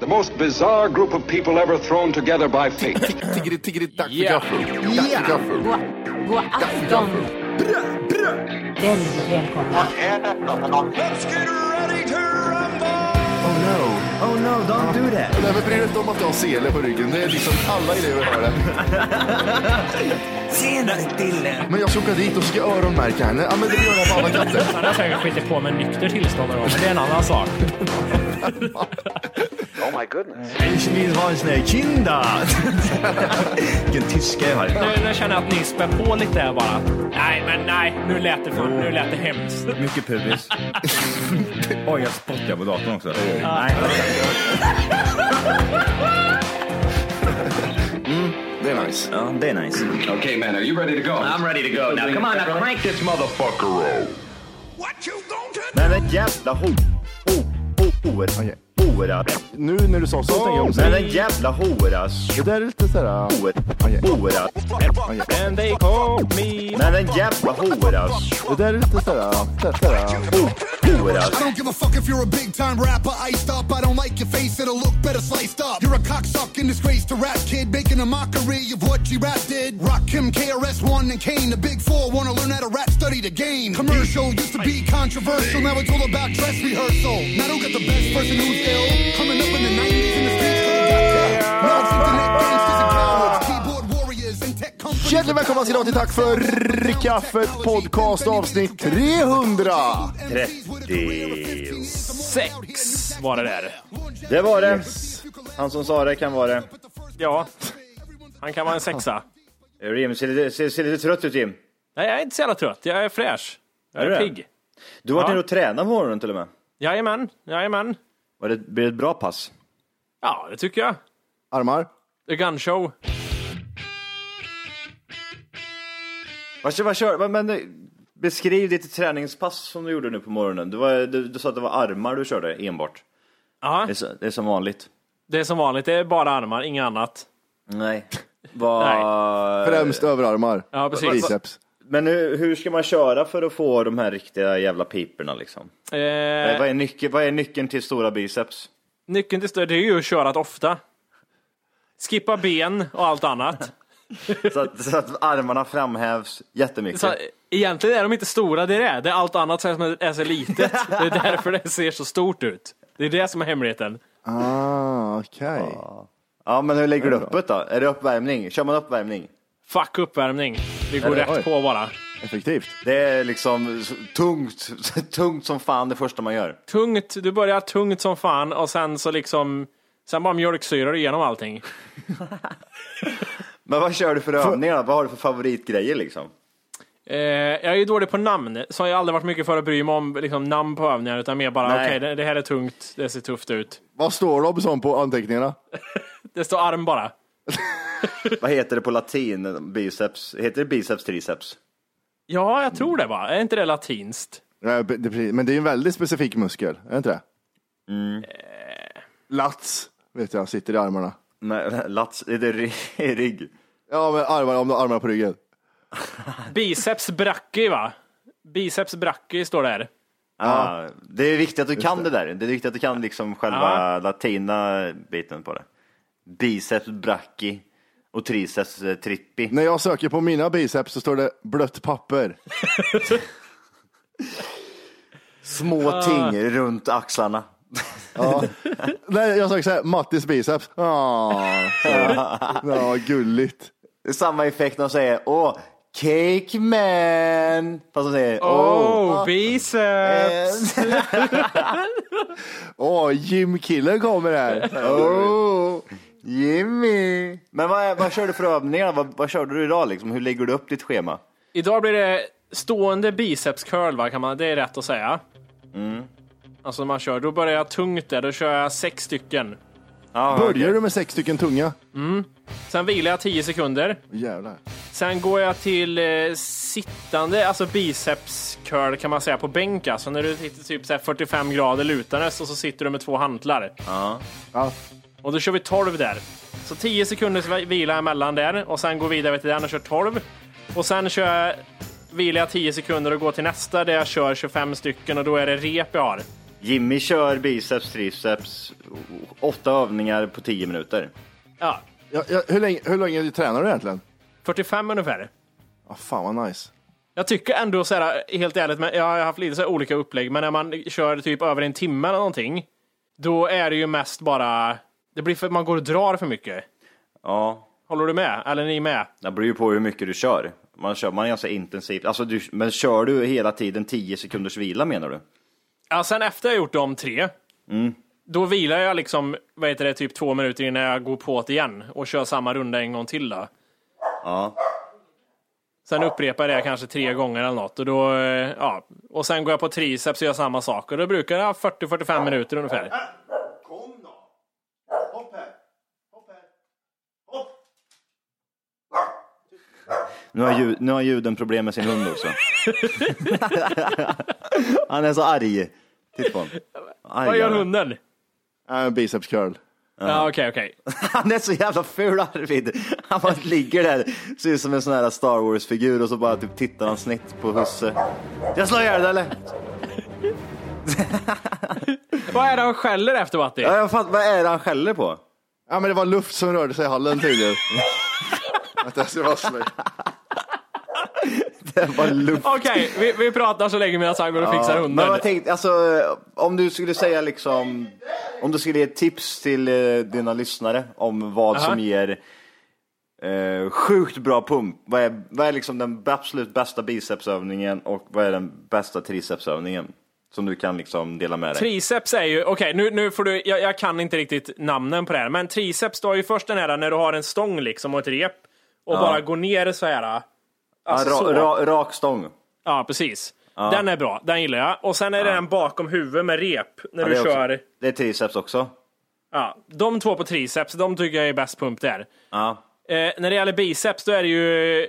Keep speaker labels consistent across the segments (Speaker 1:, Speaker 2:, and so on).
Speaker 1: The most bizarre group of people ever thrown together by fate.
Speaker 2: Tiggeri, tiggeri, tack för gaffel. Tack för gaffel.
Speaker 3: God afton! Väldigt välkomna.
Speaker 4: Oh no, oh no, don't do that.
Speaker 2: Nej, men bry dig inte om att du har sele på ryggen. Det är liksom alla elever har det.
Speaker 4: Tjenare Dille!
Speaker 2: Men jag ska åka dit och ska öronmärka henne. Ja, men det gör jag på alla katter.
Speaker 5: Han har säkert skitit på med nykter tillstånd då, men det är en annan sak.
Speaker 1: Oh,
Speaker 4: Ich will ha en sån här kinda. Vilken tyska jag har.
Speaker 5: Nu, nu känner jag att ni spär på lite här bara. Nej, men nej, nu lät det, fan, nu lät det hemskt.
Speaker 4: Mycket pubis. Oj, jag spottar på datorn också. Nej.
Speaker 2: Det är nice.
Speaker 4: Ja, det är nice.
Speaker 1: okay, man, are you ready to go? I'm ready to go. Now, come on, now crank this motherfucker up.
Speaker 4: Men den jävla ho... ho... ho... hora.
Speaker 2: Okej.
Speaker 4: Hora.
Speaker 2: Nu när du sa så tänker jag om
Speaker 4: Men
Speaker 2: sig.
Speaker 4: den jävla hora...
Speaker 2: Det där är lite såhär...
Speaker 4: Hora. Hora.
Speaker 5: And they call me...
Speaker 4: Men den jävla hora...
Speaker 2: Det där är lite såhär... såhär, såhär.
Speaker 4: Hora.
Speaker 6: I don't give a fuck if you're a big time rapper iced up. I don't like your face, it'll look better sliced up. You're a cocksucking disgrace to rap kid, making a mockery of what G rap did. Rock Kim, KRS1, and Kane, the big four wanna learn how to rap, study the game. Commercial used to be controversial, now it's all about dress rehearsal. Now don't get the best person who's ill. Coming up in the 90s in the streets, could've got killed. Now it's internet gangsters and cowards, keyboard warriors, and tech companies.
Speaker 2: Hjärtligt välkomna ska ni vara till Tack för kaffet podcast avsnitt 300.
Speaker 5: 36 var det där.
Speaker 4: Det var det. Han som sa det kan vara det.
Speaker 5: Ja, han kan vara en sexa.
Speaker 4: Rim, ser lite, ser, ser lite trött ut Jim.
Speaker 5: Nej, jag är inte så jävla trött. Jag är fräsch. Jag
Speaker 4: Är du
Speaker 5: är
Speaker 4: det?
Speaker 5: pigg.
Speaker 4: Du har varit
Speaker 5: Ja.
Speaker 4: nere och tränat på morgonen till och med.
Speaker 5: Jajamän, jajamän.
Speaker 4: Var det, blir det ett bra pass?
Speaker 5: Ja, det tycker jag.
Speaker 2: Armar.
Speaker 5: The Gun Show.
Speaker 4: Vad kör, vad kör, vad- men, eh, beskriv ditt träningspass som du gjorde nu på morgonen. Du, var, du, du sa att det var armar du körde enbart.
Speaker 5: Ja,
Speaker 4: Det är, så- det är som vanligt.
Speaker 5: det är som vanligt. Det är bara armar, inget annat.
Speaker 4: Nej. Vad-
Speaker 2: Främst överarmar.
Speaker 5: Ja, precis.
Speaker 2: Biceps.
Speaker 4: Men hur, hur ska man köra för att få de här riktiga jävla piporna liksom? Eh,
Speaker 5: Eh,
Speaker 4: Vad, är nyckeln, vad är nyckeln till stora biceps?
Speaker 5: nyckeln till stöd det är ju att köra ofta. Skippa ben och allt annat.
Speaker 4: Så att, så att armarna framhävs jättemycket.
Speaker 5: Så, egentligen är de inte stora, det är det. Det är allt annat som är så litet. Det är därför det ser så stort ut. Det är det som är hemligheten.
Speaker 2: Ah, okej.
Speaker 4: Ja men hur lägger du
Speaker 2: bra.
Speaker 4: upp det då? Är det uppvärmning? Kör man uppvärmning?
Speaker 5: Fuck uppvärmning. Vi går
Speaker 2: det-
Speaker 5: rätt
Speaker 2: oj.
Speaker 5: på bara.
Speaker 2: Effektivt.
Speaker 4: Det är liksom så- tungt, tungt som fan det första man gör.
Speaker 5: Tungt, du börjar tungt som fan och sen så liksom, sen bara mjölksyrar du igenom allting.
Speaker 4: Men vad kör du för övningar då? Vad har du för favoritgrejer liksom?
Speaker 5: Eh, jag är ju dålig på namn, så jag har aldrig varit mycket för att bry mig om liksom, namn på övningar, utan mer bara okej,
Speaker 4: Nej.
Speaker 5: det, det här är tungt, det ser tufft ut.
Speaker 2: Vad står Robinson på anteckningarna?
Speaker 5: Det står arm bara.
Speaker 4: Vad heter det på latin? Biceps? Heter det biceps triceps?
Speaker 5: Ja, jag tror det va? Är inte det latinskt?
Speaker 2: Nej, det- det- Men det är ju en väldigt specifik muskel, är det inte det? Lats, vet jag, sitter i armarna.
Speaker 4: Nej, lats, är det ry- rygg?
Speaker 2: Ja, men armar, om du har armarna på ryggen.
Speaker 5: Biceps brachy va? Biceps brachy står där.
Speaker 4: Ja. det är viktigt att du kan det. där. Det är viktigt att du kan liksom själva latina biten på det. Biceps brachy och triceps eh, trippi.
Speaker 2: När jag söker på mina biceps så står det blött papper.
Speaker 4: Små ting runt axlarna.
Speaker 2: Ja. Nej, jag sa så här, Mattis biceps. Åh, så. ja, gulligt.
Speaker 4: Det är samma effekt när de säger åh, cake man. Fast de säger åh.
Speaker 5: Oh,
Speaker 4: Eh.
Speaker 5: biceps!
Speaker 2: Åh, gymkillen kommer här. Oh,
Speaker 4: Åh, Jimmy. Men vad, vad kör du för övningar? Vad, vad körde du idag liksom? Hur lägger du upp ditt schema?
Speaker 5: Idag blir det stående biceps curl, va? Kan man, det är rätt att säga. Alltså man kör, då börjar jag tungt där, då kör jag sex stycken.
Speaker 4: Ah,
Speaker 2: Börjar du med sex stycken tunga?
Speaker 5: Sen vilar jag 10 sekunder.
Speaker 2: Jävlar.
Speaker 5: Sen går jag till eh, sittande, alltså biceps curl kan man säga på bänk. Alltså när du sitter typ så här 45 grader lutandes och så sitter du med två hantlar.
Speaker 2: Ja.
Speaker 5: Och då kör vi 12 där. Så 10 sekunders vi- vila emellan där och sen går vidare till den och kör 12. Och sen kör jag, vilar jag 10 sekunder och går till nästa där jag kör 25 stycken och då är det rep jag har.
Speaker 4: Jimmy kör biceps, triceps, åtta övningar på tio minuter.
Speaker 5: Ja,
Speaker 2: Ja, ja, hur, länge, hur länge tränar du egentligen?
Speaker 5: 45 ungefär.
Speaker 2: Ja, fan vad nice.
Speaker 5: Jag tycker ändå så här, helt ärligt, men jag har haft lite så här olika upplägg, men när man kör typ över en timme eller någonting, då är det ju mest bara, det blir för, man går och drar för mycket.
Speaker 4: Ja,
Speaker 5: Håller du med? Eller ni med?
Speaker 4: det beror ju på hur mycket du kör. Man kör man är ganska intensivt. Alltså du, men kör du hela tiden 10 sekunders vila menar du?
Speaker 5: Ja, sen efter jag gjort de tre, då vilar jag liksom, vad heter det, typ två minuter innan jag går på det igen och kör samma runda en gång till då.
Speaker 4: Ja.
Speaker 5: Sen upprepar jag det kanske tre gånger eller något och då, eh, ja. Och sen går jag på triceps och gör samma sak och då brukar jag 40-45 minuter ungefär.
Speaker 4: Nu har, ljud, nu har ljuden problem med sin hund också. Han är så arg. Titta på honom. Arg
Speaker 5: Vad gör
Speaker 4: är han.
Speaker 5: hunden?
Speaker 2: Äh, biceps curl.
Speaker 5: Ja, okej, okej.
Speaker 4: Han är så jävla ful Arvid. Han bara ligger där, ser ut som en sån här Star Wars-figur och så bara typ tittar han snett på husse. Jag slår ihjäl dig eller?
Speaker 5: Vad är det han skäller efter Matti?
Speaker 4: Ja, jag fattar, vad är det han skäller på?
Speaker 2: Ja, men det var luft som rörde sig i hallen tydligen. Vänta, jag ska vassla.
Speaker 4: Det var luft.
Speaker 5: Okej, vi, vi pratar så länge medan han går och fixar
Speaker 4: Men
Speaker 5: hunden.
Speaker 4: jag tänkte, alltså om du skulle säga liksom, om du skulle ge tips till eh, dina lyssnare om vad
Speaker 5: Aha.
Speaker 4: som ger eh, sjukt bra pump. Vad är, vad är liksom den absolut bästa bicepsövningen och vad är den bästa tricepsövningen? Som du kan liksom dela med dig.
Speaker 5: Triceps är ju, okej nu, nu får du, jag, jag kan inte riktigt namnen på det här, men triceps, du har ju först den här när du har en stång liksom och ett rep och bara går ner så här. Alltså
Speaker 4: ra,
Speaker 5: så.
Speaker 4: Ra, rak stång.
Speaker 5: Ja, precis. Den är bra, den gillar jag. Och sen är det den bakom huvudet med rep när
Speaker 4: Ja,
Speaker 5: du
Speaker 4: det är också-
Speaker 5: kör.
Speaker 4: Det är triceps också.
Speaker 5: Ja, de två på triceps, de tycker jag är bäst pump där.
Speaker 4: Ja.
Speaker 5: Eh, när det gäller biceps, då är det ju eh,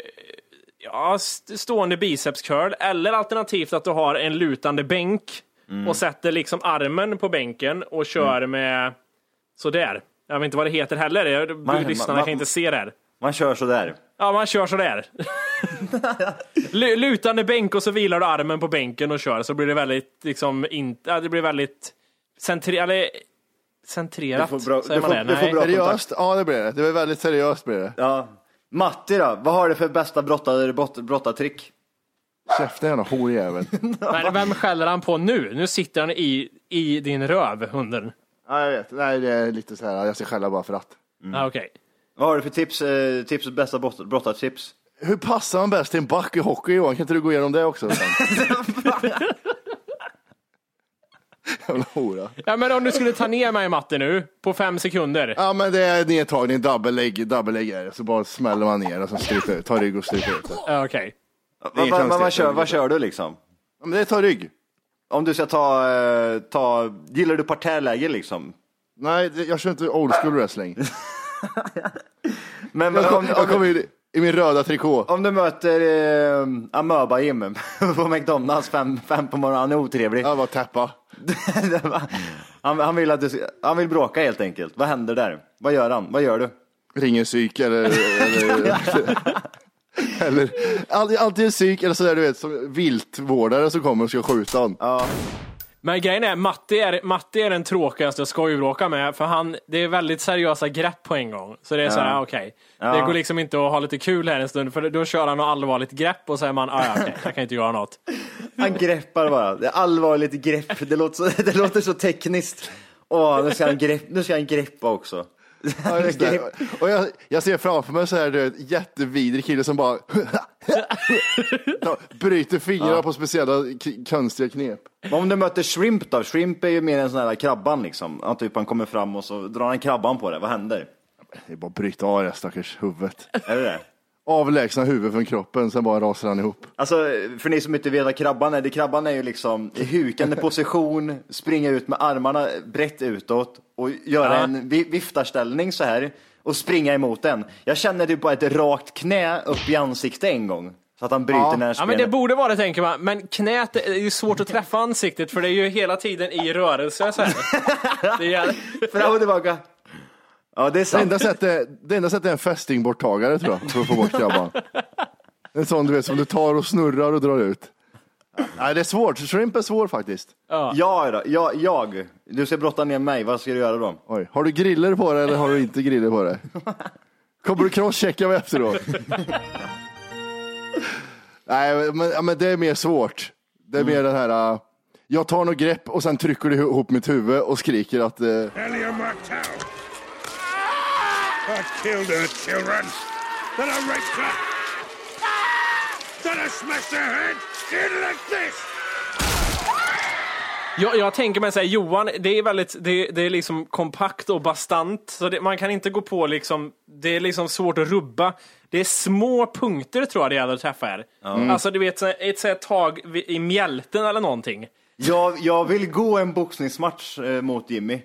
Speaker 5: ja, st- stående bicepscurl eller alternativt att du har en lutande bänk
Speaker 4: Mm.
Speaker 5: och sätter liksom armen på bänken och kör med sådär. Jag vet inte vad det heter heller. Jag,
Speaker 4: Man-
Speaker 5: lyssnarna
Speaker 4: man-
Speaker 5: kan inte se det här.
Speaker 4: Man kör sådär.
Speaker 5: Ja, man kör sådär. Lu- lutande bänk och så vilar du armen på bänken och kör så blir det väldigt liksom inte, ja, det blir väldigt centre, eller, centrerat.
Speaker 4: Du får bra-
Speaker 5: säger
Speaker 4: du
Speaker 5: man
Speaker 4: får-
Speaker 5: det?
Speaker 4: du får
Speaker 5: Nej.
Speaker 4: bra-
Speaker 2: Seriöst? Ja, det blir det. Det var väldigt seriöst blir det.
Speaker 4: Ja. Matti då, vad har du för bästa brottar, brott, brottartrick?
Speaker 2: Käften jävla horjävel.
Speaker 5: Nej, vem skäller han på nu? Nu sitter han i, i din röv, hunden.
Speaker 2: Ja, jag vet. Nej, det är lite så här, jag ska skälla bara för att.
Speaker 4: Mm.
Speaker 5: Ah, Okej.
Speaker 4: Vad har du för tips, eh, tips bästa brott- brottartips?
Speaker 2: Hur passar man bäst till en back i hockey Johan? Kan inte du gå igenom det också? sen? Jävla hora.
Speaker 5: Ja, men om du skulle ta ner mig Matte nu på fem sekunder.
Speaker 2: Ja men det är nedtagning, double leg, double leg är det. Så bara smäller man ner och så stryper ut, tar rygg och stryper ut. det.
Speaker 5: Ja, Ah, Okej.
Speaker 4: Vad,
Speaker 2: inget
Speaker 4: vad, vad,
Speaker 2: konstigt.
Speaker 4: kör, vad kör du liksom?
Speaker 2: Ja, men det är tar rygg.
Speaker 4: Om du ska ta, eh, ta gillar du parterrläge liksom?
Speaker 2: Nej, det- jag kör inte old school wrestling.
Speaker 4: Men
Speaker 2: Jag
Speaker 4: om,
Speaker 2: kom, jag kom
Speaker 4: om,
Speaker 2: i, i min röda trikå.
Speaker 4: om du möter eh, Amöba Jim på McDonalds fem, fem på morgonen, han är otrevlig.
Speaker 2: Jag bara tappa.
Speaker 4: han, han, vill att du, ska- han vill bråka helt enkelt. Vad händer där? Vad gör han? Vad gör du?
Speaker 2: Ringer psyk eller... eller, eller all- antingen psyk eller sådär du vet, som viltvårdare som kommer och ska skjuta honom.
Speaker 5: Men grejen är, Matti är, Matti är den tråkigaste att skojbråka med, för han, det är väldigt seriösa grepp på en gång. Så det är så här, ah, okej. Det går liksom inte att ha lite kul här en stund, för då kör han något allvarligt grepp och så är man, ah, ja, okej, jag kan inte göra något.
Speaker 4: Han greppar bara. Det är allvarligt grepp. Det låter så, det låter så tekniskt. Åh, nu ska han, grepp, nu ska han greppa också.
Speaker 2: Ja, just det. Och jag, jag ser framför mig så här, du vet, jättevidrig kille som bara Ja, bryter fingrar på speciella k- konstiga knep.
Speaker 4: Men om du möter Shrimp då? Shrimp är ju mer en sån här krabban liksom. Att typ han kommer fram och så drar han krabban på det. Vad händer?
Speaker 2: Det är bara att bryta av det här stackars huvudet.
Speaker 4: Är det det?
Speaker 2: Avlägsna huvudet från kroppen, sen bara rasar han ihop.
Speaker 4: Alltså, för ni som inte vet vad krabban är, det krabban är ju liksom i hukande position, springa ut med armarna brett utåt och göra
Speaker 5: Ja.
Speaker 4: en vi- viftarställning så här och springa emot den. Jag känner det bara ett rakt knä upp i ansiktet en gång. Så att han bryter ja.
Speaker 5: Ja men det borde vara det tänker man, men knät är ju svårt att träffa ansiktet för det är ju hela tiden i rörelse så här. Det är,
Speaker 4: Fram och tillbaka. Ja, det är
Speaker 2: Det
Speaker 4: sant.
Speaker 2: enda sättet, det enda sättet är en fästingborttagare tror jag, för att få bort krabban. En sån du vet som du tar och snurrar och drar ut. Nej, det är svårt. Shrimp är svår faktiskt.
Speaker 4: Ja, då. Ja, jag. Du ska brotta ner mig, vad ska du göra då?
Speaker 2: Oj. Har du griller på dig eller har du inte griller på dig? Kommer du crosschecka mig efteråt? Nej, men, ja, men det är mer svårt. Det är mer den här, uh, jag tar något grepp och sen trycker du ihop mitt huvud och skriker att uh,
Speaker 6: Earlier marked out.
Speaker 1: Ah!
Speaker 6: I killed her children. Then I raped her. Then I smashed her head in like this.
Speaker 5: jag, jag tänker mig såhär, Johan, det är väldigt, det, det är liksom kompakt och bastant. Så det, man kan inte gå på liksom, det är liksom svårt att rubba. Det är små punkter tror jag det gäller att träffa här. Alltså du vet, så här, ett så här tag vid- i mjälten eller någonting.
Speaker 4: Jag, jag vill gå en boxningsmatch eh, mot Jimmy.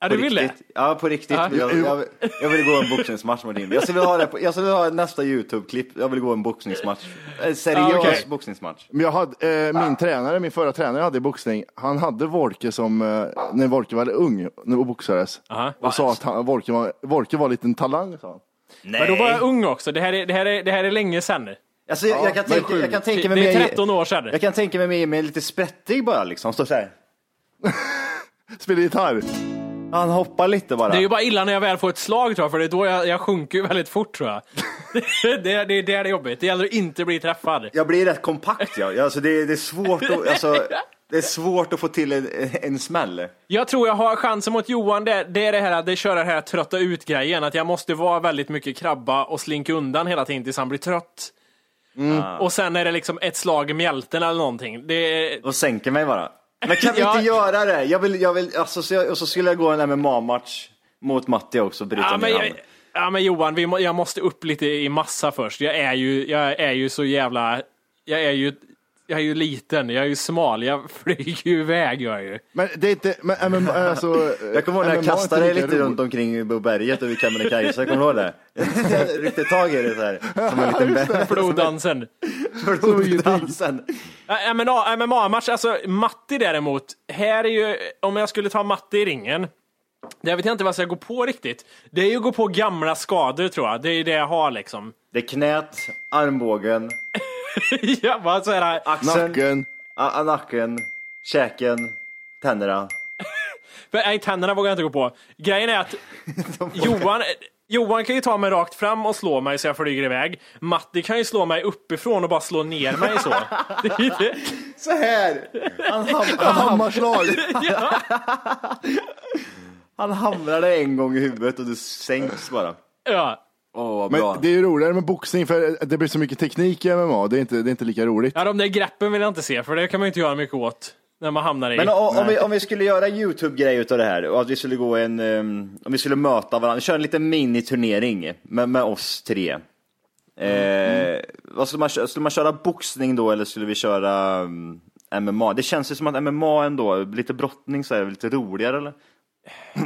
Speaker 5: Ja,
Speaker 4: På
Speaker 5: du vill det?
Speaker 4: riktigt. Ja, på riktigt.
Speaker 5: Ja.
Speaker 4: Jag, jag, jag vill gå en boxningsmatch mot Jimmy. Jag skulle vilja ha, det på, jag skulle vilja ha nästa YouTube-klipp. Jag vill gå en boxningsmatch. En seriös
Speaker 5: Ja, okej.
Speaker 4: boxningsmatch.
Speaker 2: Men jag hade, eh, min tränare, min förra tränare hade i boxning, han hade Wolke som, eh, när Wolke var ung när- och boxades,
Speaker 5: Aha.
Speaker 2: och sa att han, Wolke, var, Wolke var en liten talang. Sa han.
Speaker 5: Men då var jag ung också, det här är, det här är, det här är länge sedan.
Speaker 4: Alltså, jag, jag, kan
Speaker 2: men
Speaker 4: tänka, jag kan tänka mig
Speaker 5: Det är
Speaker 4: mig-
Speaker 5: 13 år sedan.
Speaker 4: Jag kan tänka mig mig Jimmy lite sprättig bara liksom. Står så här.
Speaker 2: Spelar gitarr.
Speaker 4: Han hoppar lite bara.
Speaker 5: Det är ju bara illa när jag väl får ett slag tror jag, för det är då jag, jag sjunker ju väldigt fort tror jag. det, det, det är där det är jobbigt, det gäller att inte bli träffad.
Speaker 4: Jag blir rätt kompakt ja. Alltså, det, är- det, är svårt att, alltså, det är svårt att få till en, en smäll.
Speaker 5: Jag tror jag har chansen mot Johan, det, det är det här att det kör den här trötta ut-grejen, att jag måste vara väldigt mycket krabba och slinka undan hela tiden tills han blir trött. Och sen är det liksom ett slag i mjälten eller någonting. Det,
Speaker 4: och sänker mig bara. Men kan vi
Speaker 5: Ja.
Speaker 4: inte göra det? Jag vill, jag vill, alltså, så jag, och så skulle jag gå en MMA-match mot Matti också och bryta
Speaker 5: ja,
Speaker 4: ner
Speaker 5: men,
Speaker 4: jag...
Speaker 5: jag, ja, men Johan, vi må, jag måste upp lite i massa först. Jag är ju, jag är ju så jävla... Jag är ju, jag är ju liten, jag är ju smal, jag flyger ju iväg. Jag är ju.
Speaker 2: Men det är inte, men, men, alltså,
Speaker 4: Jag kommer ihåg
Speaker 2: MMA är
Speaker 4: när jag
Speaker 2: inte
Speaker 4: kastade dig
Speaker 2: lika
Speaker 4: lite
Speaker 2: roligt.
Speaker 4: runt omkring på berget över Kebnekaise, kommer du ihåg det? Jag ryckte tag i dig så här, som en liten bär.
Speaker 5: Floddansen.
Speaker 4: Floddansen.
Speaker 5: Ja, men ja, MMA-match, alltså Matti däremot, här är ju, om jag skulle ta Matti i ringen, det vet jag inte vad jag ska gå på riktigt. Det är ju att gå på gamla skador tror jag, det är ju det jag har liksom.
Speaker 4: Det är knät, armbågen,
Speaker 5: jag bara så här,
Speaker 4: axeln,
Speaker 2: Nacken.
Speaker 4: a- a- nacken, käken, tänderna.
Speaker 5: för, nej, tänderna vågar jag inte gå på. Grejen är att Johan, Johan kan ju ta mig rakt fram och slå mig så jag flyger iväg. Matti kan ju slå mig uppifrån och bara slå ner mig så. Det är ju det.
Speaker 4: Så här! Han, ham-
Speaker 2: Hammarslag.
Speaker 4: han hamnar dig en gång i huvudet och du sänks bara.
Speaker 5: ja.
Speaker 4: Åh, vad bra.
Speaker 2: Men det är ju roligare med boxning för det blir så mycket teknik i MMA, det är inte, det är inte lika roligt.
Speaker 5: ja, de där greppen vill jag inte se, för det kan man ju inte göra mycket åt. När man hamnar i...
Speaker 4: Men om, om, vi, om vi skulle göra en YouTube-grej utav det här och att vi skulle gå en, ehm, om vi skulle möta varandra, köra en liten miniturnering med, med oss tre. Eh, Vad skulle, man, kö- skulle man köra boxning då eller skulle vi köra mm, MMA? Det känns ju som att MMA ändå, lite brottning så är det lite roligare eller?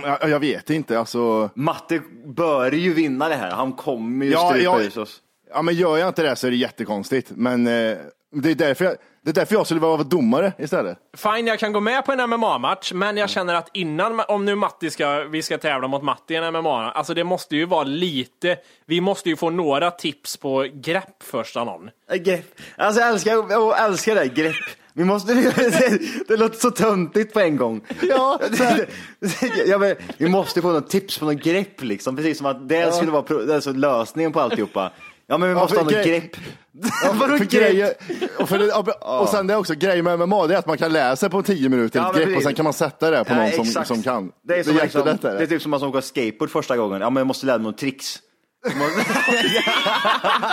Speaker 2: Jag, jag vet inte, alltså.
Speaker 4: Matte bör ju vinna det här, han kommer ju
Speaker 2: Ja,
Speaker 4: strypa
Speaker 2: jag-
Speaker 4: ut oss.
Speaker 2: Ja, men gör jag inte det så är det jättekonstigt. Men eh, det, är därför jag, det är därför jag skulle vilja vara domare istället.
Speaker 5: Fine, jag kan gå med på en MMA-match, men
Speaker 2: Mm.
Speaker 5: jag känner att innan, om nu Matti ska, vi ska tävla mot Matti i en MMA, alltså det måste ju vara lite, vi måste ju få några tips på grepp först av någon.
Speaker 4: Äh, Grepp. Alltså jag älskar, jag älskar det, här, grepp. Vi måste, det, det låter så töntigt på en gång.
Speaker 2: Ja,
Speaker 4: Ja, men, vi måste få något tips på något grepp liksom, precis som att det skulle vara pro- det är så lösningen på alltihopa. Ja, men vi måste
Speaker 2: för
Speaker 4: ha något
Speaker 2: grej-
Speaker 4: grepp.
Speaker 2: Ja,
Speaker 4: Vadå
Speaker 2: för
Speaker 4: grepp?
Speaker 2: grejer, och, för, det- och, och sen det är också grejen med MMA, det är att man kan lära sig på 10 minuter
Speaker 4: Ja,
Speaker 2: ett
Speaker 4: men
Speaker 2: grepp och
Speaker 4: precis.
Speaker 2: sen kan man sätta det på
Speaker 4: Nej,
Speaker 2: någon som,
Speaker 4: exakt.
Speaker 2: som kan.
Speaker 4: Det är, som liksom,
Speaker 2: jättelätt,
Speaker 4: det
Speaker 2: är det.
Speaker 4: är typ som att åka skateboard första gången. Ja, men jag måste lära mig några tricks.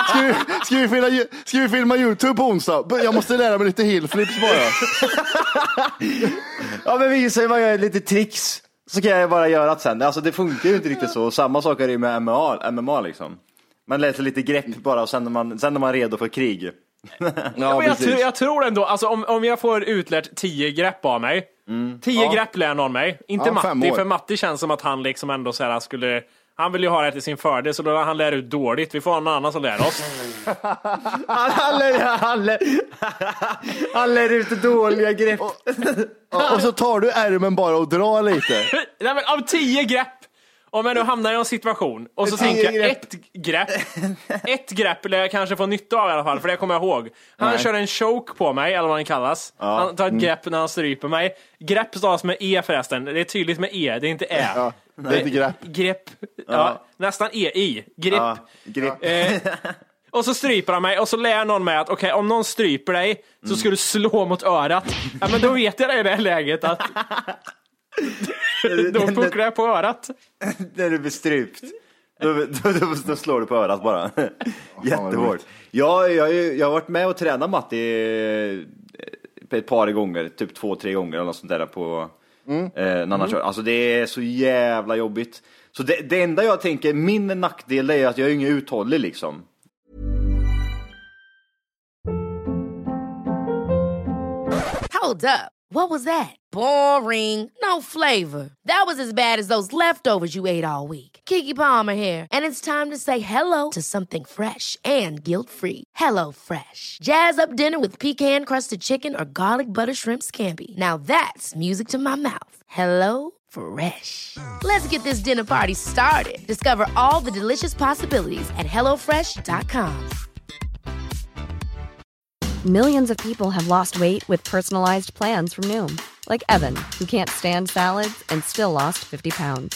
Speaker 2: Ska vi, ska, vi filma, ju- ska vi filma YouTube på onsdag? B- Jag måste lära mig lite hillflips bara.
Speaker 4: Ja, men visa hur man gör lite tricks. Så kan jag bara göra det sen. Alltså det funkar ju inte riktigt så. Samma sak är det ju med MMA, MMA liksom. Man lär sig lite grepp bara och sen är man, sen är man redo för krig.
Speaker 5: Ja, men jag, tror, jag tror ändå, alltså, om, om jag får utlärt tio grepp av mig, tio grepp lär någon mig, inte
Speaker 2: Mm. Ja, fem
Speaker 5: Matti,
Speaker 2: år.
Speaker 5: för Matti känns som att han liksom ändå så här skulle, han vill ju ha det till sin fördel, så då han lär ut dåligt, vi får ha någon annan som lär oss.
Speaker 4: Han, han, lär, han, lär, han lär ut dåliga grepp.
Speaker 2: Ja, Och så tar du ärmen bara och drar lite.
Speaker 5: Nej men av tio grepp, om jag nu hamnar i en situation, och så
Speaker 4: Tio
Speaker 5: tänker jag
Speaker 4: grepp.
Speaker 5: ett grepp, ett grepp lär jag kanske få nytta av i alla fall, för det kommer jag ihåg. Han
Speaker 4: Nej. Mm.
Speaker 5: kör en choke på mig, eller vad den kallas. Han tar ett grepp när han stryper mig. Grepp stavas med e förresten, det är tydligt med e, det är inte ä.
Speaker 2: Ja, det är lite grepp.
Speaker 5: Grepp. Ja. Nästan EI. Gripp.
Speaker 4: Ja, grepp.
Speaker 5: Eh, och så stryper han mig och så lär någon mig att okej, om någon stryper dig så
Speaker 4: Mm.
Speaker 5: ska du slå mot örat. Ja, men då vet jag det i det här läget att då pucklar jag på örat.
Speaker 4: När du blir strypt. Då, då, då, då slår du på örat bara. Jättehårt.
Speaker 2: roligt.
Speaker 4: Jag, jag, har ju- jag har varit med och tränat Matti eh, ett par gånger, typ två, tre gånger eller något sånt där på
Speaker 2: Mm.
Speaker 4: eh, när han har kört. Alltså det är så jävla jobbigt. Så det, det enda jag tänker, min nackdel det är att jag är ingen uthållig liksom.
Speaker 7: Hold up. What was that? Boring. No flavor. That was as bad as those leftovers you ate all week. Kiki Palmer here, and it's time to say hello to something fresh and guilt-free. Hello Fresh. Jazz up dinner with pecan-crusted chicken or garlic butter shrimp scampi. Now that's music to my mouth. Hello Fresh. Let's get this dinner party started. Discover all the delicious possibilities at hellofresh.com.
Speaker 8: Millions of people have lost weight with personalized plans from Noom, like Evan, who can't stand salads and still lost 50 pounds.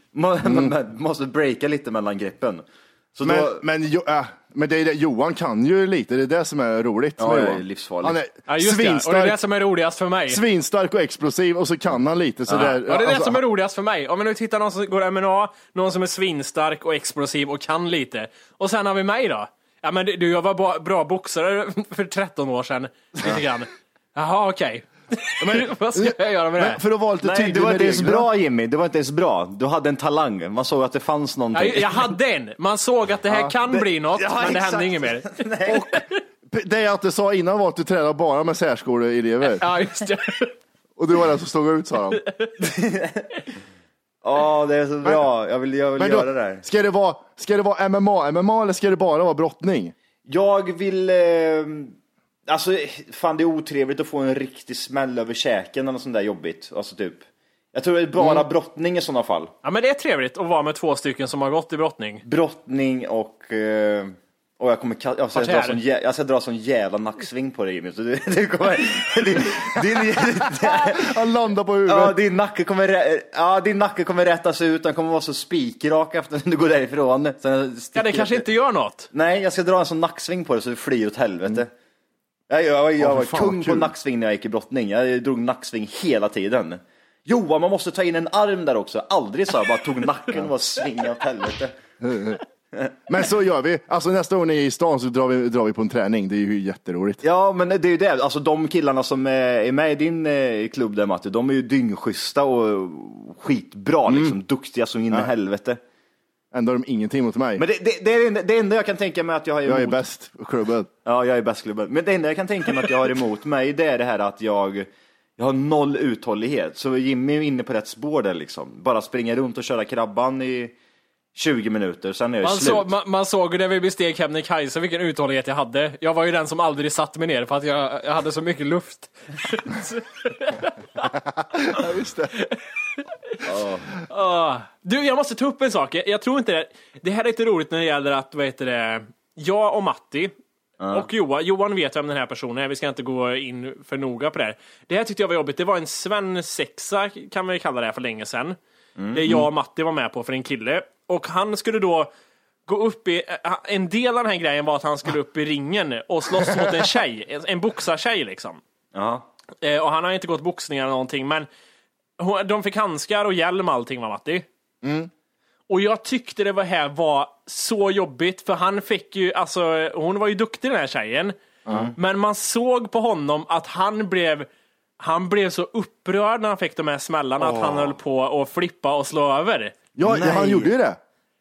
Speaker 4: Må, Måste breaka lite mellan greppen. Så
Speaker 2: Mm. Men,
Speaker 4: då,
Speaker 2: men, jo, äh, men det är det, Johan kan ju lite, det är det som är roligt
Speaker 4: Ja,
Speaker 2: med
Speaker 4: det är
Speaker 2: Johan.
Speaker 4: livsfarligt.
Speaker 2: Han är
Speaker 5: Ja, just det. Och det är det
Speaker 2: svinstark,
Speaker 5: som är roligast för mig.
Speaker 2: svinstark och explosiv och så kan han lite. Så det är,
Speaker 5: Ja, det är det
Speaker 2: alltså,
Speaker 5: som är roligast för mig. Om vi nu tittar någon som går M&A, någon som är svinstark och explosiv och kan lite. Och sen har vi mig då. Ja men du, jag var ba- bra boxare för 13 år sedan. Lite grann. Jaha, okej. Vad ska jag göra med det
Speaker 2: men
Speaker 5: här?
Speaker 2: För att vara lite
Speaker 4: Nej,
Speaker 2: tydlig
Speaker 4: du var
Speaker 2: med
Speaker 4: inte ens
Speaker 2: reglerna.
Speaker 4: bra Jimmy, du var inte ens bra. Du hade en talang, man såg att det fanns
Speaker 5: Ja,
Speaker 4: någonting.
Speaker 5: jag hade en. Man såg att det här kan bli något,
Speaker 4: Ja,
Speaker 5: men det
Speaker 4: exakt.
Speaker 5: hände inget mer.
Speaker 4: Nej.
Speaker 2: P- Det jag inte sa innan var att du tränar bara med särskoleelever.
Speaker 5: Ja, just det.
Speaker 2: Och du var den som stod ut sa han.
Speaker 4: Ja, det är så bra. Jag vill, jag vill
Speaker 2: Men då,
Speaker 4: göra det här.
Speaker 2: ska, det vara, ska det vara MMA, MMA eller ska det bara vara brottning?
Speaker 4: Jag vill... Eh, alltså, fan det är otrevligt att få en riktig smäll över käken eller något sånt där jobbigt. Alltså typ. Jag tror det är bara
Speaker 5: Mm.
Speaker 4: brottning i sådana fall.
Speaker 5: Ja, men det är trevligt att vara med två stycken som har gått i brottning.
Speaker 4: Brottning och... Eh, och jag kommer kall- jag ska,
Speaker 5: Parterre.
Speaker 4: dra sån, jä- jag ska dra sån jävla nacksving på dig Jimmy. Så du, du kommer, din, din,
Speaker 2: Han landar på huvudet.
Speaker 4: ja, din, nacke kommer rä- ja, din nacke kommer rätas ut, den kommer vara så spikrak efter när du går därifrån. Sen
Speaker 5: Ja, det
Speaker 4: sticker-
Speaker 5: kanske inte gör något.
Speaker 4: Nej, jag ska dra en sån nacksving på det så det flyr åt helvete. Jag, jag, jag,
Speaker 2: Åh, fy
Speaker 4: var
Speaker 2: fan,
Speaker 4: kung
Speaker 2: vad
Speaker 4: på
Speaker 2: kul.
Speaker 4: nacksving när jag gick i brottning. Jag drog nacksving hela tiden. Johan, man måste ta in en arm där också. Aldrig så här, bara tog nacken och bara svingade åt helvete.
Speaker 2: Men så gör vi. Alltså nästa gång ni är i stan så drar vi, drar vi på en träning. Det är ju jätteroligt.
Speaker 4: Ja, men det är ju det. Alltså de killarna som eh, är med i din eh, klubb där Matti, de är ju dyngschyssta och skitbra liksom. Duktiga som in i helvete.
Speaker 2: Ändå har de ingenting mot mig.
Speaker 4: Men det, det, det, är det, enda- det enda jag kan tänka mig att jag har emot
Speaker 2: jag är bäst på klubben.
Speaker 4: Ja, jag är bäst klubben. Men det enda jag kan tänka mig att jag har emot mig, det är det här att jag, jag har noll uthållighet. Så Jimmy är inne på rätt spår där liksom. Bara springa runt och köra krabban i, 20 minuter, sen är det
Speaker 5: Man,
Speaker 4: slut.
Speaker 5: så, man, man såg ju när vi besteg Kebnekaise vilken uthållighet jag hade. Jag var ju den som aldrig satte mig ner för att jag, jag hade så mycket luft.
Speaker 2: Ja, just det.
Speaker 5: Ah. Du, jag måste ta upp en sak. Jag, jag tror inte det. Det här är lite roligt när det gäller att, vad heter det, jag och Matti och Johan, Johan vet vem den här personen är, vi ska inte gå in för noga på det här. Det här tyckte jag var jobbigt, det var en svensexa kan vi kalla det här för länge sedan. Det jag och Matti var med på för en kille. Och han skulle då gå upp i, eh, en del av den här grejen var att han skulle upp i ringen och slåss mot en tjej, en- en boxartjej liksom.
Speaker 4: Ja.
Speaker 5: Eh, och han har inte gått boxningar eller någonting, men hon- de fick handskar och hjälm och allting va Matti? Och jag tyckte det var här var så jobbigt, för han fick ju, alltså hon var ju duktig den här tjejen. Men man såg på honom att han blev, han blev så upprörd när han fick de här smällarna att han höll på att flippa och slå över.
Speaker 2: Ja, ja, han gjorde ju det.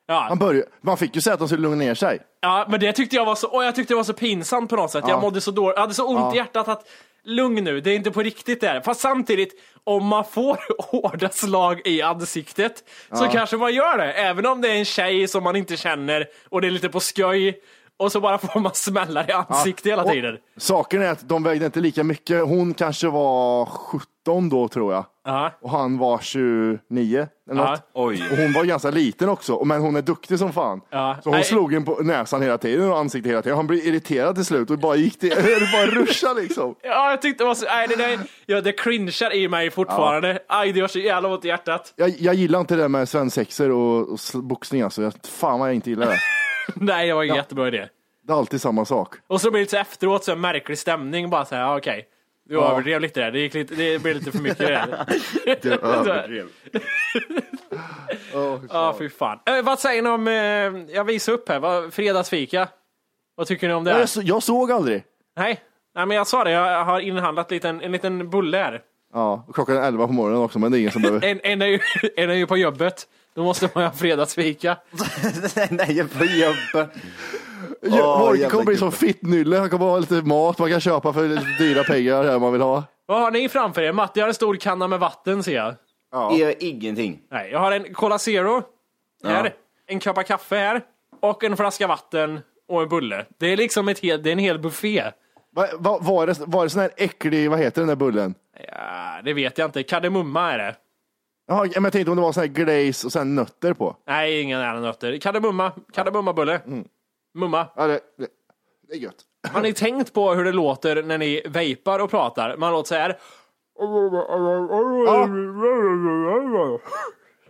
Speaker 5: Ja.
Speaker 2: Han började, man fick ju säga att de skulle lugna ner sig.
Speaker 5: Ja, men det tyckte jag var så, och jag tyckte det var så pinsamt på något sätt. Jag mådde så dåligt, jag hade så ont i hjärtat att lugn nu, det är inte på riktigt det här. Fast samtidigt, om man får hårda slag i ansiktet så kanske man gör det. Även om det är en tjej som man inte känner och det är lite på skoj och så bara får man smällar i ansiktet hela
Speaker 2: Och
Speaker 5: tiden.
Speaker 2: Saken är att de vägde inte lika mycket. Hon kanske var 17 då tror jag.
Speaker 5: Ja.
Speaker 2: Och han var 29 eller
Speaker 5: Ja.
Speaker 2: något.
Speaker 4: Oj.
Speaker 2: Och hon var ganska liten också, och- men hon är duktig som fan.
Speaker 5: Ja.
Speaker 2: Så hon
Speaker 5: Nej.
Speaker 2: slog in på näsan hela tiden och ansiktet hela tiden. Han blev irriterad till slut och bara gick till, det bara ruschade liksom.
Speaker 5: Ja, jag tyckte det var så, nej, det, där, ja, det cringear i mig fortfarande. Aj, det gör så jävla ont i hjärtat.
Speaker 2: Jag, jag gillar inte det där med svensexor och, och s- boxning alltså. Jag, fan vad jag inte gillar det.
Speaker 5: Nej, det var ingen jättebra idé.
Speaker 2: Det är alltid samma sak.
Speaker 5: Och så blir det så efteråt så en märklig stämning bara så här, ja, okej. Du överdrev lite där, det, gick lite, det blev lite för mycket där.
Speaker 4: Du överdrev.
Speaker 5: Ja, fy fan. Eh, vad säger ni om, eh, jag visar upp här, vad, fredagsfika? Vad tycker ni om det?
Speaker 2: Jag,
Speaker 5: Här?
Speaker 2: s- jag såg aldrig.
Speaker 5: Nej? Nej, men jag sa det, jag har inhandlat liten, en liten bulle här.
Speaker 2: Ja, och klockan är 11 på morgonen också, men det är ingen som behöver.
Speaker 5: En, en, är ju, en är ju på jobbet, då måste man ju ha fredagsfika.
Speaker 4: nej, nej, jag får jobba.
Speaker 2: Ja, Morgan
Speaker 4: jävla
Speaker 2: kommer bli som
Speaker 4: gubbe.
Speaker 2: fittnylle. Han kommer ha lite mat man kan köpa för lite dyra pengar här man vill ha.
Speaker 5: Vad har ni framför er? Matti har en stor kanna med vatten ser jag.
Speaker 4: Är jag ingenting.
Speaker 5: Nej, jag har en Cola Zero här, en kopp av kaffe här och en flaska vatten och en bulle. Det är liksom ett hel, det är en hel buffé.
Speaker 2: Va, va, var, det, var det sån här äcklig, vad heter den där bullen?
Speaker 5: Ja, det vet jag inte. Kardemumma är det.
Speaker 2: Jaha, men jag tänkte om det var sån här glaze och sen nötter på.
Speaker 5: Nej, inga nära nötter. Kardemumma. Kardemummabulle. Mumma.
Speaker 2: Ja, det, det, det är gött.
Speaker 5: Har ni tänkt på hur det låter när ni vejpar och pratar? Man låter så här.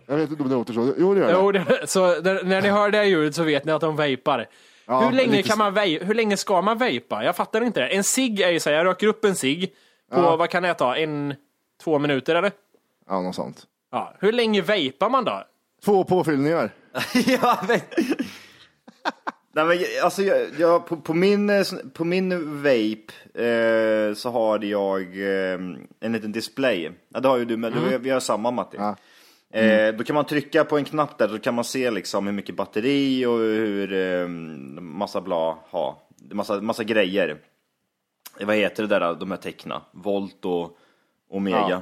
Speaker 2: Jag vet inte om det låter så. Jo, det gör det.
Speaker 5: Jo, det, så när, när ni hör det ljudet så vet ni att de vejpar.
Speaker 2: Ja,
Speaker 5: hur, länge
Speaker 2: lite
Speaker 5: kan
Speaker 2: så.
Speaker 5: man vej, hur länge ska man vejpa? Jag fattar inte det. En cigg är ju så här, jag röker upp en cigg på, vad kan det ta, en, två minuter eller?
Speaker 2: Ja, något sånt.
Speaker 5: Ja. Hur länge vejpar man då?
Speaker 2: Två påfyllningar.
Speaker 4: ja, men... Nej, men, jag- alltså, jag, jag, på, på, min, eh, sån- på min vape eh, så har jag eh, en liten display. Ja, det har ju du, men du, vi har samma Matti. Eh, då kan man trycka på en knapp där, då kan man se liksom hur mycket batteri och hur eh, massa bla ha. Massa, massa grejer. Eh, Vad heter det där, de här teckna? Volt och omega.
Speaker 2: Ja.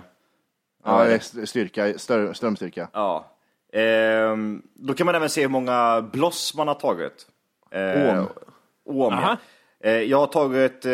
Speaker 2: Ja, det är styrka, stör, strömstyrka.
Speaker 4: Ja. Ehm, då kan man även se hur många bloss man har tagit. Eh,
Speaker 2: Åm.
Speaker 4: Åm, ja.
Speaker 5: Aha.
Speaker 4: Eh, jag har tagit eh,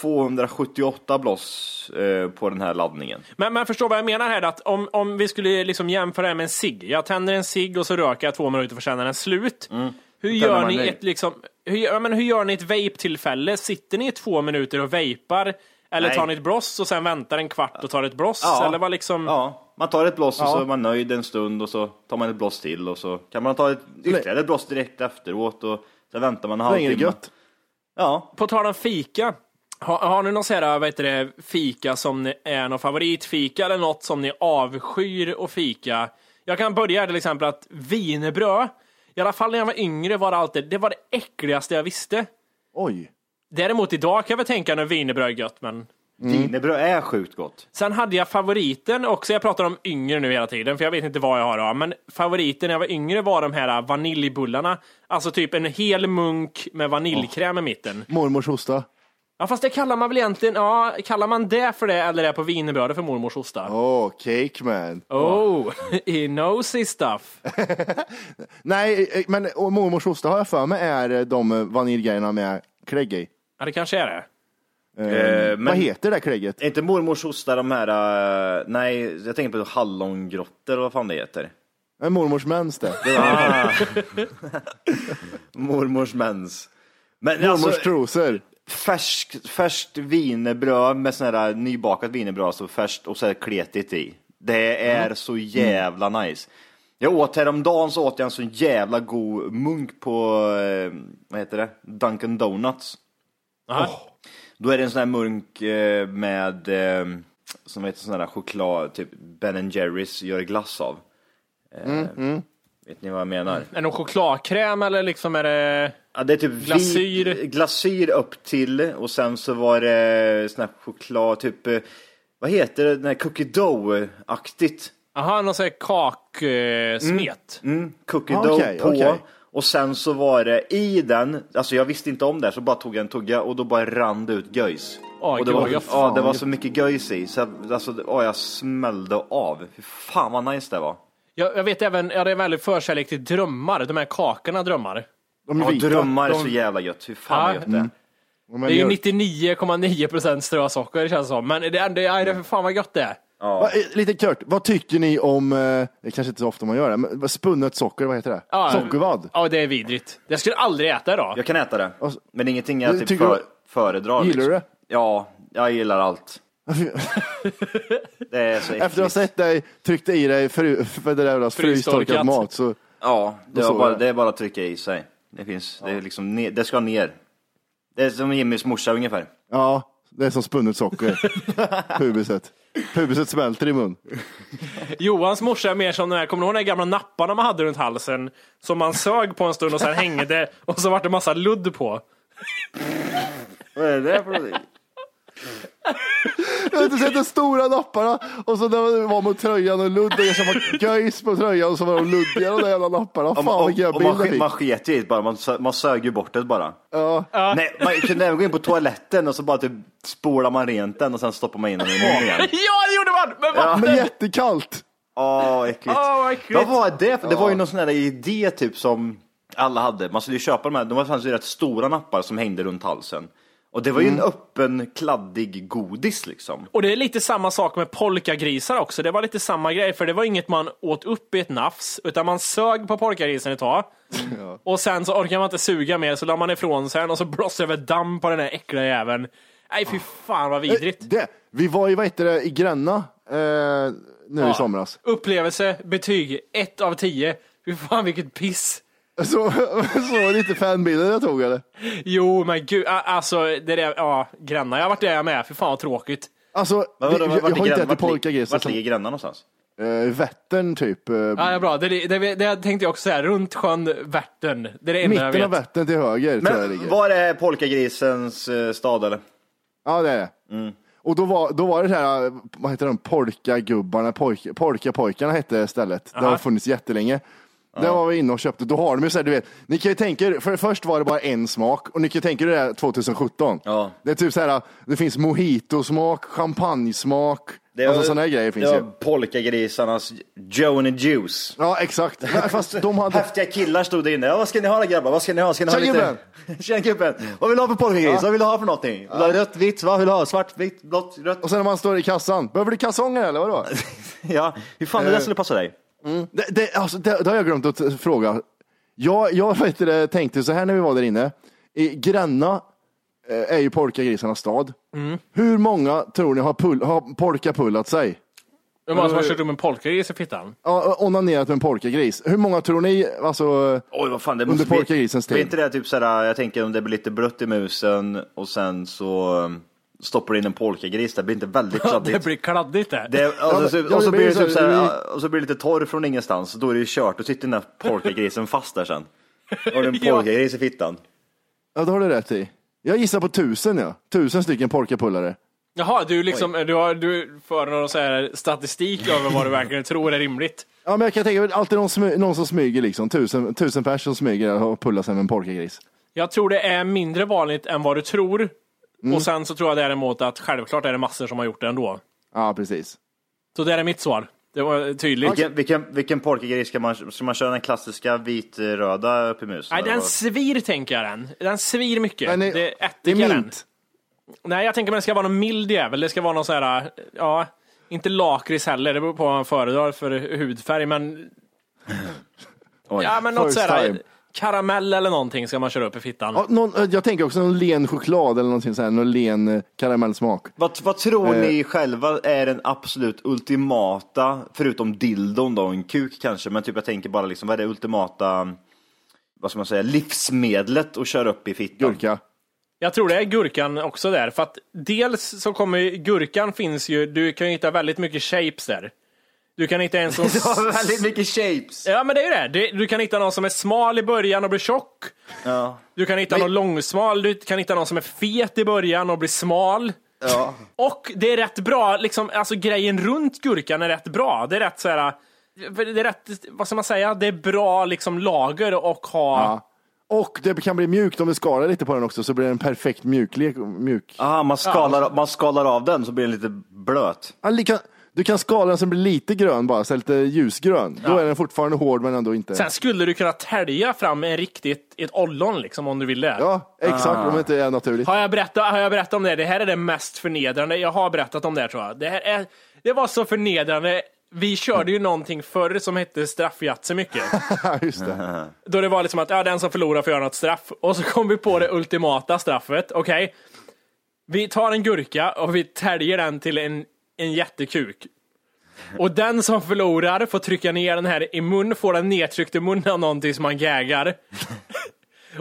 Speaker 4: 278 bloss eh, på den här laddningen.
Speaker 5: Men, men förstår vad jag menar här, att om, om vi skulle liksom jämföra det här med en cigg. Jag tänder en cigg och så röker jag två minuter för sen är den slut. Hur,
Speaker 4: Mm. tänder
Speaker 5: gör
Speaker 4: man
Speaker 5: ni
Speaker 4: ny.
Speaker 5: ett, liksom, hur, ja, men hur gör ni ett vape-tillfälle? Sitter ni i två minuter och vapar? Eller
Speaker 4: Nej.
Speaker 5: tar ni ett bloss och sen väntar en kvart och tar ett bloss?
Speaker 4: Ja.
Speaker 5: Eller vad liksom...
Speaker 4: Ja, man tar ett bloss och så är man nöjd en stund och så tar man ett bloss till och så kan man ta ett, ytterligare ett bloss direkt efteråt och sen väntar man en
Speaker 2: Länge är det
Speaker 4: halvtimme.
Speaker 2: gött.
Speaker 4: Ja,
Speaker 5: På tal om fika. Har, har ni någon sån här, vad heter det, fika som ni- är någon favoritfika eller något som ni avskyr att fika? Jag kan börja till exempel att wienerbröd, i alla fall när jag var yngre var det alltid, det var det äckligaste jag visste.
Speaker 2: Oj.
Speaker 5: Däremot idag kan jag väl tänka när wienerbröd är gött, men
Speaker 4: wienerbröd är sjukt gott.
Speaker 5: Sen hade jag favoriten också, jag pratar om yngre nu hela tiden, för jag vet inte vad jag har av, men favoriten när jag var yngre var de här vaniljbullarna. Alltså typ en hel munk med vaniljkräm i mitten.
Speaker 2: Mormors hosta.
Speaker 5: Ja, fast det kallar man väl egentligen, ja, kallar man det för det eller är det på wienerbrödet för mormors ostar?
Speaker 2: Oh, cake man.
Speaker 5: Oh, he knows his stuff.
Speaker 2: Nej, eh, men och mormors osta har jag för mig är eh, de eh, vaniljgrejerna med klägg i.
Speaker 5: Ja, det kanske är det.
Speaker 2: Eh,
Speaker 4: Eh, men-
Speaker 2: Vad heter det där klägget?
Speaker 4: Är inte mormors hostar de här, eh, nej, jag tänker på hallongrottor eller vad fan det heter.
Speaker 2: Eh, Mormors mens det. det var-
Speaker 4: Ah. mormors mens. Men
Speaker 2: mormors
Speaker 4: alltså,
Speaker 2: trosor.
Speaker 4: färsk, färskt wienerbröd med sån här nybakat wienerbröd, alltså färskt och så här kletigt i. Det är så jävla nice. Jag åt häromdagen så åt jag en så jävla god munk på, eh, vad heter det, Dunkin Donuts.
Speaker 5: Aha.
Speaker 4: Då är det en sån här munk eh, med, eh, som heter sån här choklad, typ Ben Jerrys gör glass av. Eh, Vet ni vad jag menar?
Speaker 5: Är det någon chokladkräm eller liksom är det...
Speaker 4: Ja, det är typ vit-
Speaker 5: Glasyr.
Speaker 4: glasyr upp till och sen så var det eh, sån här choklad, typ, eh, vad heter det, den här cookie dough-aktigt.
Speaker 5: Aha, någon sån här kaksmet.
Speaker 4: Mm, cookie
Speaker 2: Ah,
Speaker 4: dough
Speaker 2: okej,
Speaker 4: på.
Speaker 2: okej.
Speaker 4: Och sen så var det i den, alltså jag visste inte om det här, så bara tog jag en tugga och då bara rann det ut göjs.
Speaker 5: Åh,
Speaker 4: och det,
Speaker 5: gud,
Speaker 4: var,
Speaker 5: vad
Speaker 4: ja,
Speaker 5: fan.
Speaker 4: det var så mycket göjs i, så jag, alltså, det- åh, jag smällde av. Fy fan vad nice det var.
Speaker 5: Jag, jag vet även, jag hade en väldigt förkärlek till drömmar, de här kakorna drömmar.
Speaker 2: De är Mm.
Speaker 4: Ja,
Speaker 2: vita.
Speaker 4: drömmar är
Speaker 5: de-
Speaker 4: så jävla gött, hur fan
Speaker 5: Ja,
Speaker 4: vad gött det är.
Speaker 2: De
Speaker 5: det är ju
Speaker 2: mjölk.
Speaker 5: 99,9% strösocker känns det som, men det, är- det, är- det är för fan vad gött det är.
Speaker 2: Va, eh, lite kort, vad tycker ni om, eh, det kanske inte så ofta man gör det, men vad- spunnet socker, vad heter det?
Speaker 5: Ja,
Speaker 2: Sockervadd.
Speaker 5: Ja, det är vidrigt. Jag skulle aldrig äta idag.
Speaker 4: Jag kan äta det,
Speaker 2: Och så-
Speaker 4: men ingenting jag
Speaker 2: Men
Speaker 4: typ
Speaker 2: tycker
Speaker 4: för,
Speaker 2: du-
Speaker 4: föredrar.
Speaker 2: Gillar du
Speaker 4: liksom.
Speaker 2: det?
Speaker 4: Ja, jag gillar allt. det är så
Speaker 2: Efter
Speaker 4: äckligt.
Speaker 2: att ha sett dig tryckte i dig fru, för det där jävla
Speaker 5: Frystorkat.
Speaker 2: frystorkad mat så
Speaker 4: Ja, det,
Speaker 2: Då
Speaker 4: var
Speaker 2: såg
Speaker 4: bara,
Speaker 2: jag.
Speaker 4: det är bara att trycka i sig. Det finns, det, är liksom ner, det ska ner. Det är som Jimmys morsa ungefär.
Speaker 2: ja, det är som spunnet socker. Pubiset. Pubiset smälter i mun.
Speaker 5: Johans morsa är mer som den här, kommer du ihåg de här gamla napparna man hade runt halsen? Som man sög på en stund och sen hängde och så vart det massa ludd på.
Speaker 4: Vad är det för någonting?
Speaker 2: Jag har inte sett de stora napparna och så när det var mot tröjan och ludd och så var göjs på tröjan och så var de luddiga de där jävla napparna. Fan
Speaker 4: och,
Speaker 2: vilken
Speaker 4: och
Speaker 2: bild
Speaker 4: man,
Speaker 2: jag
Speaker 4: sk-
Speaker 2: fick.
Speaker 4: man sket ju i det bara, man, sö- man sög ju bort det bara. Nej, man kunde även gå in på toaletten och så bara typ spolar man rent den och sen stoppar man in den i munnen igen.
Speaker 5: Ja, det gjorde man! Men vad
Speaker 2: Men jättekallt.
Speaker 4: Åh, vad äckligt.
Speaker 5: Åh, vad äckligt.
Speaker 4: Vad var det? för- Det var ju någon sån här idé typ som alla hade. Man skulle ju köpa de här, de var fanns ju rätt stora nappar som hängde runt halsen. Och det var ju
Speaker 2: Mm.
Speaker 4: en öppen kladdig godis liksom.
Speaker 5: Och det är lite samma sak med polkagrisar också. Det var lite samma grej, för det var inget man åt upp i ett nafs, utan man sög på polkagrisen ett tag. Och sen så orkar man inte suga mer, så la man ifrån sig den och så blossade över damm på den här äckliga jäveln. Nej, fy fan vad vidrigt.
Speaker 2: Eh, Det, vi var i, vad heter det, i Gränna eh, nu i somras.
Speaker 5: Upplevelse, betyg, 1 av 10. Fy fan vilket piss.
Speaker 2: Så, så var det inte fanbilden jag tog eller?
Speaker 5: Jo, men gud, a- alltså det där, ja, grannar. Jag har varit där jag med, fy fan vad tråkigt.
Speaker 2: Alltså,
Speaker 4: Vadå,
Speaker 2: jag,
Speaker 4: vart
Speaker 2: jag har
Speaker 4: ligger-
Speaker 2: inte ätit
Speaker 4: vart ligger-
Speaker 2: polkagrisar
Speaker 4: Vart
Speaker 2: som
Speaker 4: ligger Gränna någonstans?
Speaker 2: eh, Vättern typ. Eh,
Speaker 5: Ja, det är bra. Det, det, det, det tänkte jag också säga, runt sjön Vättern. Det är det enda jag
Speaker 2: mitten av
Speaker 5: vet.
Speaker 2: Vättern till höger tror jag det
Speaker 4: Men
Speaker 2: ligger.
Speaker 4: var är polkagrisens eh, stad eller?
Speaker 2: Ja, det är det.
Speaker 4: Mm.
Speaker 2: Och då var, då var det så här, vad heter de, polkagubbarna, polk, polkapojkarna hette stället. Det har funnits jättelänge. Där var vi inne och köpte, då har de ju så här, du vet, ni kan ju tänka er, för först var det bara en smak och ni kan ju tänka er det här 2017.
Speaker 4: Ja.
Speaker 2: Det är typ så här, det finns mojitosmak, champagnesmak, alltså sådana här grejer finns
Speaker 4: det
Speaker 2: ju.
Speaker 4: var polkagrisarnas Joan and Juice.
Speaker 2: Ja, exakt. Men Fast de hade,
Speaker 4: Häftiga killar stod där inne. Ja, vad ska ni ha då grabbar? Vad ska ni ha? Ska ni ha
Speaker 2: Tja,
Speaker 4: lite... Tja gubben! Vad vill du ha för polkagris? Vad vill du ha för någonting? Vill du ha rött, vitt, vad vill du ha? Svart, vitt, blått, rött?
Speaker 2: och sen när man står i kassan, behöver du kalsonger eller vadå?
Speaker 4: Ja, hur fan det
Speaker 2: Eh.
Speaker 4: där skulle passa dig?
Speaker 2: Det, det, alltså, det, det har jag glömt att fråga. Jag, jag vet inte, det, tänkte så här när vi var där inne. I Gränna eh, är ju polkagrisarnas stad. Hur många tror ni har, pull, har polkapullat sig?
Speaker 5: Hur många som har kört om en polkagris i fittan?
Speaker 2: Ja, onanerat med en polkagris. Hur många tror ni, alltså,
Speaker 4: Oj, vad fan det
Speaker 2: Under
Speaker 4: måste bli-
Speaker 2: polkagrisens tid.
Speaker 4: Blir inte det typ såhär, jag tänker om det blir lite blött i musen och sen så um, stoppar du in en polkagris, det blir inte väldigt kladdigt.
Speaker 5: Det blir kladdigt det.
Speaker 4: Det, och, så,
Speaker 2: men-
Speaker 4: så-
Speaker 2: ja,
Speaker 4: och
Speaker 2: det
Speaker 4: så blir det
Speaker 2: blir
Speaker 4: typ
Speaker 2: så
Speaker 4: så
Speaker 2: här-
Speaker 4: här, och så blir det lite torr från ingenstans, då är det ju kört, då sitter den där polkagrisen fast där sen. Och den
Speaker 5: Ja.
Speaker 4: polkagris i fittan.
Speaker 2: ja, det har du rätt i. Jag gissar på tusen, ja. Tusen stycken polkapullare.
Speaker 5: Jaha, du, liksom, du, har, du för någon så här statistik över vad du verkligen tror är rimligt.
Speaker 2: Ja, men jag kan tänka mig alltid någon, smy, någon som smyger liksom. Tusen, tusen personer som smyger och pullar sig med en polkagris.
Speaker 5: Jag tror det är mindre vanligt än vad du tror.
Speaker 2: Mm.
Speaker 5: Och sen så tror jag däremot att självklart är det massor som har gjort det ändå.
Speaker 2: Ja, precis.
Speaker 5: Så det är mitt svar. Det var tydligt.
Speaker 4: Vilken, vilken, vilken polkagris ska man, ska man köra den klassiska vit-röda upp i musen?
Speaker 5: Nej,
Speaker 4: eller
Speaker 5: den
Speaker 4: vad?
Speaker 5: svir tänker jag den. Den svir mycket.
Speaker 4: Men
Speaker 5: det,
Speaker 4: det-
Speaker 5: är ättika
Speaker 4: det är
Speaker 5: den.
Speaker 4: mint.
Speaker 5: Nej, jag tänker mig det ska vara någon mild jävel. Det ska vara någon så här, eh, ja, inte lakrits heller. Det beror på vad man föredrar för hudfärg, men
Speaker 4: Oj.
Speaker 5: ja, men något
Speaker 2: First
Speaker 5: så här,
Speaker 2: time.
Speaker 5: karamell eller någonting ska man köra upp i fittan.
Speaker 2: Ja, någon, eh, jag tänker också någon len choklad eller någonting sånt här, någon len eh, karamellsmak.
Speaker 4: Vad, vad tror
Speaker 2: Eh.
Speaker 4: ni själva är den absolut ultimata, förutom dildon då, en kuk kanske, men typ jag tänker bara liksom, vad är det ultimata, vad ska man säga, livsmedlet att köra upp i fittan?
Speaker 2: Gurka.
Speaker 5: Jag tror det är gurkan också där, för att dels så kommer ju- gurkan finns ju, du kan ju hitta väldigt mycket shapes där. Du kan hitta en som...
Speaker 4: Det var väldigt mycket shapes.
Speaker 5: Ja men det är ju det. Du, du kan hitta någon som är smal i början och blir tjock.
Speaker 4: Ja.
Speaker 5: Du kan hitta någon långsmal, du kan hitta någon som är fet i början och blir smal.
Speaker 4: Ja.
Speaker 5: Och det är rätt bra, liksom, alltså grejen runt gurkan är rätt bra. Det är rätt så här, för det är rätt, vad ska man säga, det är bra liksom lager och ha.
Speaker 2: Ja. Och det kan bli mjukt om vi skalar lite på den också, så blir det en perfekt mjuklek. Mjuk.
Speaker 4: Ah, man, skalar, man skalar av den så blir den lite blöt.
Speaker 2: Ja, lika- Du kan skala den så den blir lite grön bara, så lite ljusgrön. Då är den fortfarande hård men ändå inte.
Speaker 5: Sen skulle du kunna tälja fram en riktigt, ett ollon liksom om du ville.
Speaker 2: Ja, exakt, om det inte är naturligt.
Speaker 5: Har jag, berättat, har jag berättat om det? Det här är det mest förnedrande. Jag har berättat om det här, tror jag. Det, här är, det var så förnedrande. Vi körde ju någonting förr som hette straffjatse mycket.
Speaker 2: Just det.
Speaker 5: Då det var liksom att ja, den som förlorar får göra något straff. Och så kom vi på det ultimata straffet. Okej, vi tar en gurka och vi täljer den till en, en jättekuk. Och den som förlorar får trycka ner den här i mun, får den nedtryckt i munnen av någonting som man gaggar.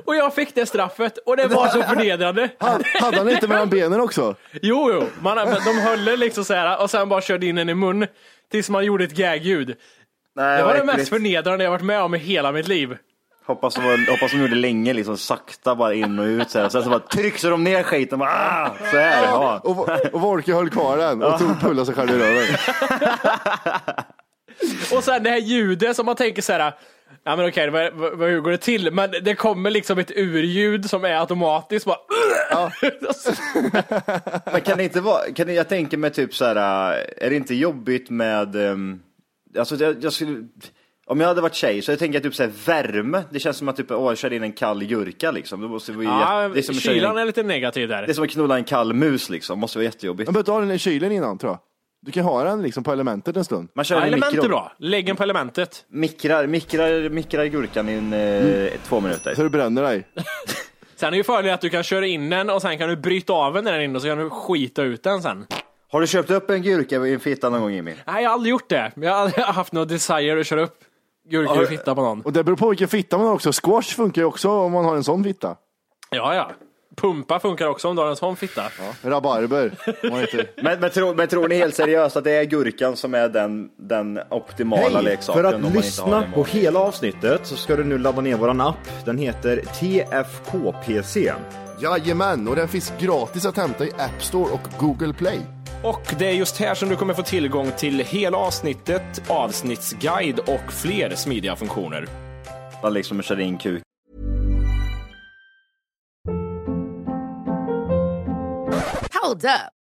Speaker 5: Och jag fick det straffet och det var så förnedrande.
Speaker 2: Han- Hade han inte mellan benen också?
Speaker 5: Jo, jo. Man, de höll det liksom så här och sen bara körde in den i mun tills man gjorde ett gagljud.
Speaker 4: Nej,
Speaker 5: Det var
Speaker 4: vad
Speaker 5: det mest
Speaker 4: äckligt.
Speaker 5: förnedrande jag varit med om i hela mitt liv.
Speaker 4: Hoppas de, var, hoppas de gjorde länge, liksom sakta bara in och ut så här. Sen så bara tryckte de ner skiten. Bara, ah, så här, ja.
Speaker 2: Och, och Wolke höll kvar den och tog pulla sig själv i röven.
Speaker 5: Och sen det här ljudet som man tänker så här. Ja men okej, vad, vad, hur går det till? Men det kommer liksom ett urljud som är automatiskt. Bara,
Speaker 4: Men kan det inte vara, kan det, jag tänker mig typ så här, äh, är det inte jobbigt med, ehm, alltså jag, jag skulle, om jag hade varit tjej så jag tänker jag typ så här, värme, det känns som att typ, åh, jag kör in en kall jurka liksom. Det, måste vara
Speaker 5: ja,
Speaker 4: jätte, det, är som att köra in,
Speaker 5: kylan
Speaker 4: en-
Speaker 5: är lite negativ där.
Speaker 4: det är som att knulla en kall mus liksom, måste vara jättejobbigt.
Speaker 2: Man behöver inte ha den i kylen innan tror jag. Du kan ha den liksom på elementet en stund.
Speaker 4: Man kör
Speaker 5: Ja,
Speaker 4: den i
Speaker 5: element är
Speaker 4: mikron,
Speaker 5: bra. Lägg den på elementet.
Speaker 4: mikrar, mikrar, mikrar gurkan i en, eh,
Speaker 5: Mm.
Speaker 4: två minuter.
Speaker 2: Så du bränner dig.
Speaker 5: Sen är det ju fördelen att du kan köra in den och sen kan du bryta av den där inne och så kan du skita ut den sen.
Speaker 4: Har du köpt upp en gurka i en fitta någon gång Jimmy?
Speaker 5: Nej, jag har aldrig gjort det. Jag har aldrig haft någon desire att köra upp gurkor och fitta på någon.
Speaker 2: Och det beror på vilken fitta man har också. Squash funkar ju också om man har en sån fitta.
Speaker 5: Ja, ja. Pumpa funkar också om du har en sån fitta.
Speaker 2: Rabarber. om man heter.
Speaker 4: Men, men, tror, men tror ni helt seriöst att det är gurkan som är den, den optimala
Speaker 9: Hej!
Speaker 4: leksaken?
Speaker 9: För
Speaker 4: om
Speaker 9: att
Speaker 4: man inte har
Speaker 9: lyssna
Speaker 4: den
Speaker 9: på
Speaker 4: varan?
Speaker 9: hela avsnittet så ska du nu ladda ner våran app. Den heter TFKPC.
Speaker 2: Jajamän, och den finns gratis att hämta i App Store och Google Play.
Speaker 10: Och det är just här som du kommer få tillgång till hela avsnittet, avsnittsguide och fler smidiga funktioner.
Speaker 4: Man liksom kör in kuk
Speaker 7: Hold up.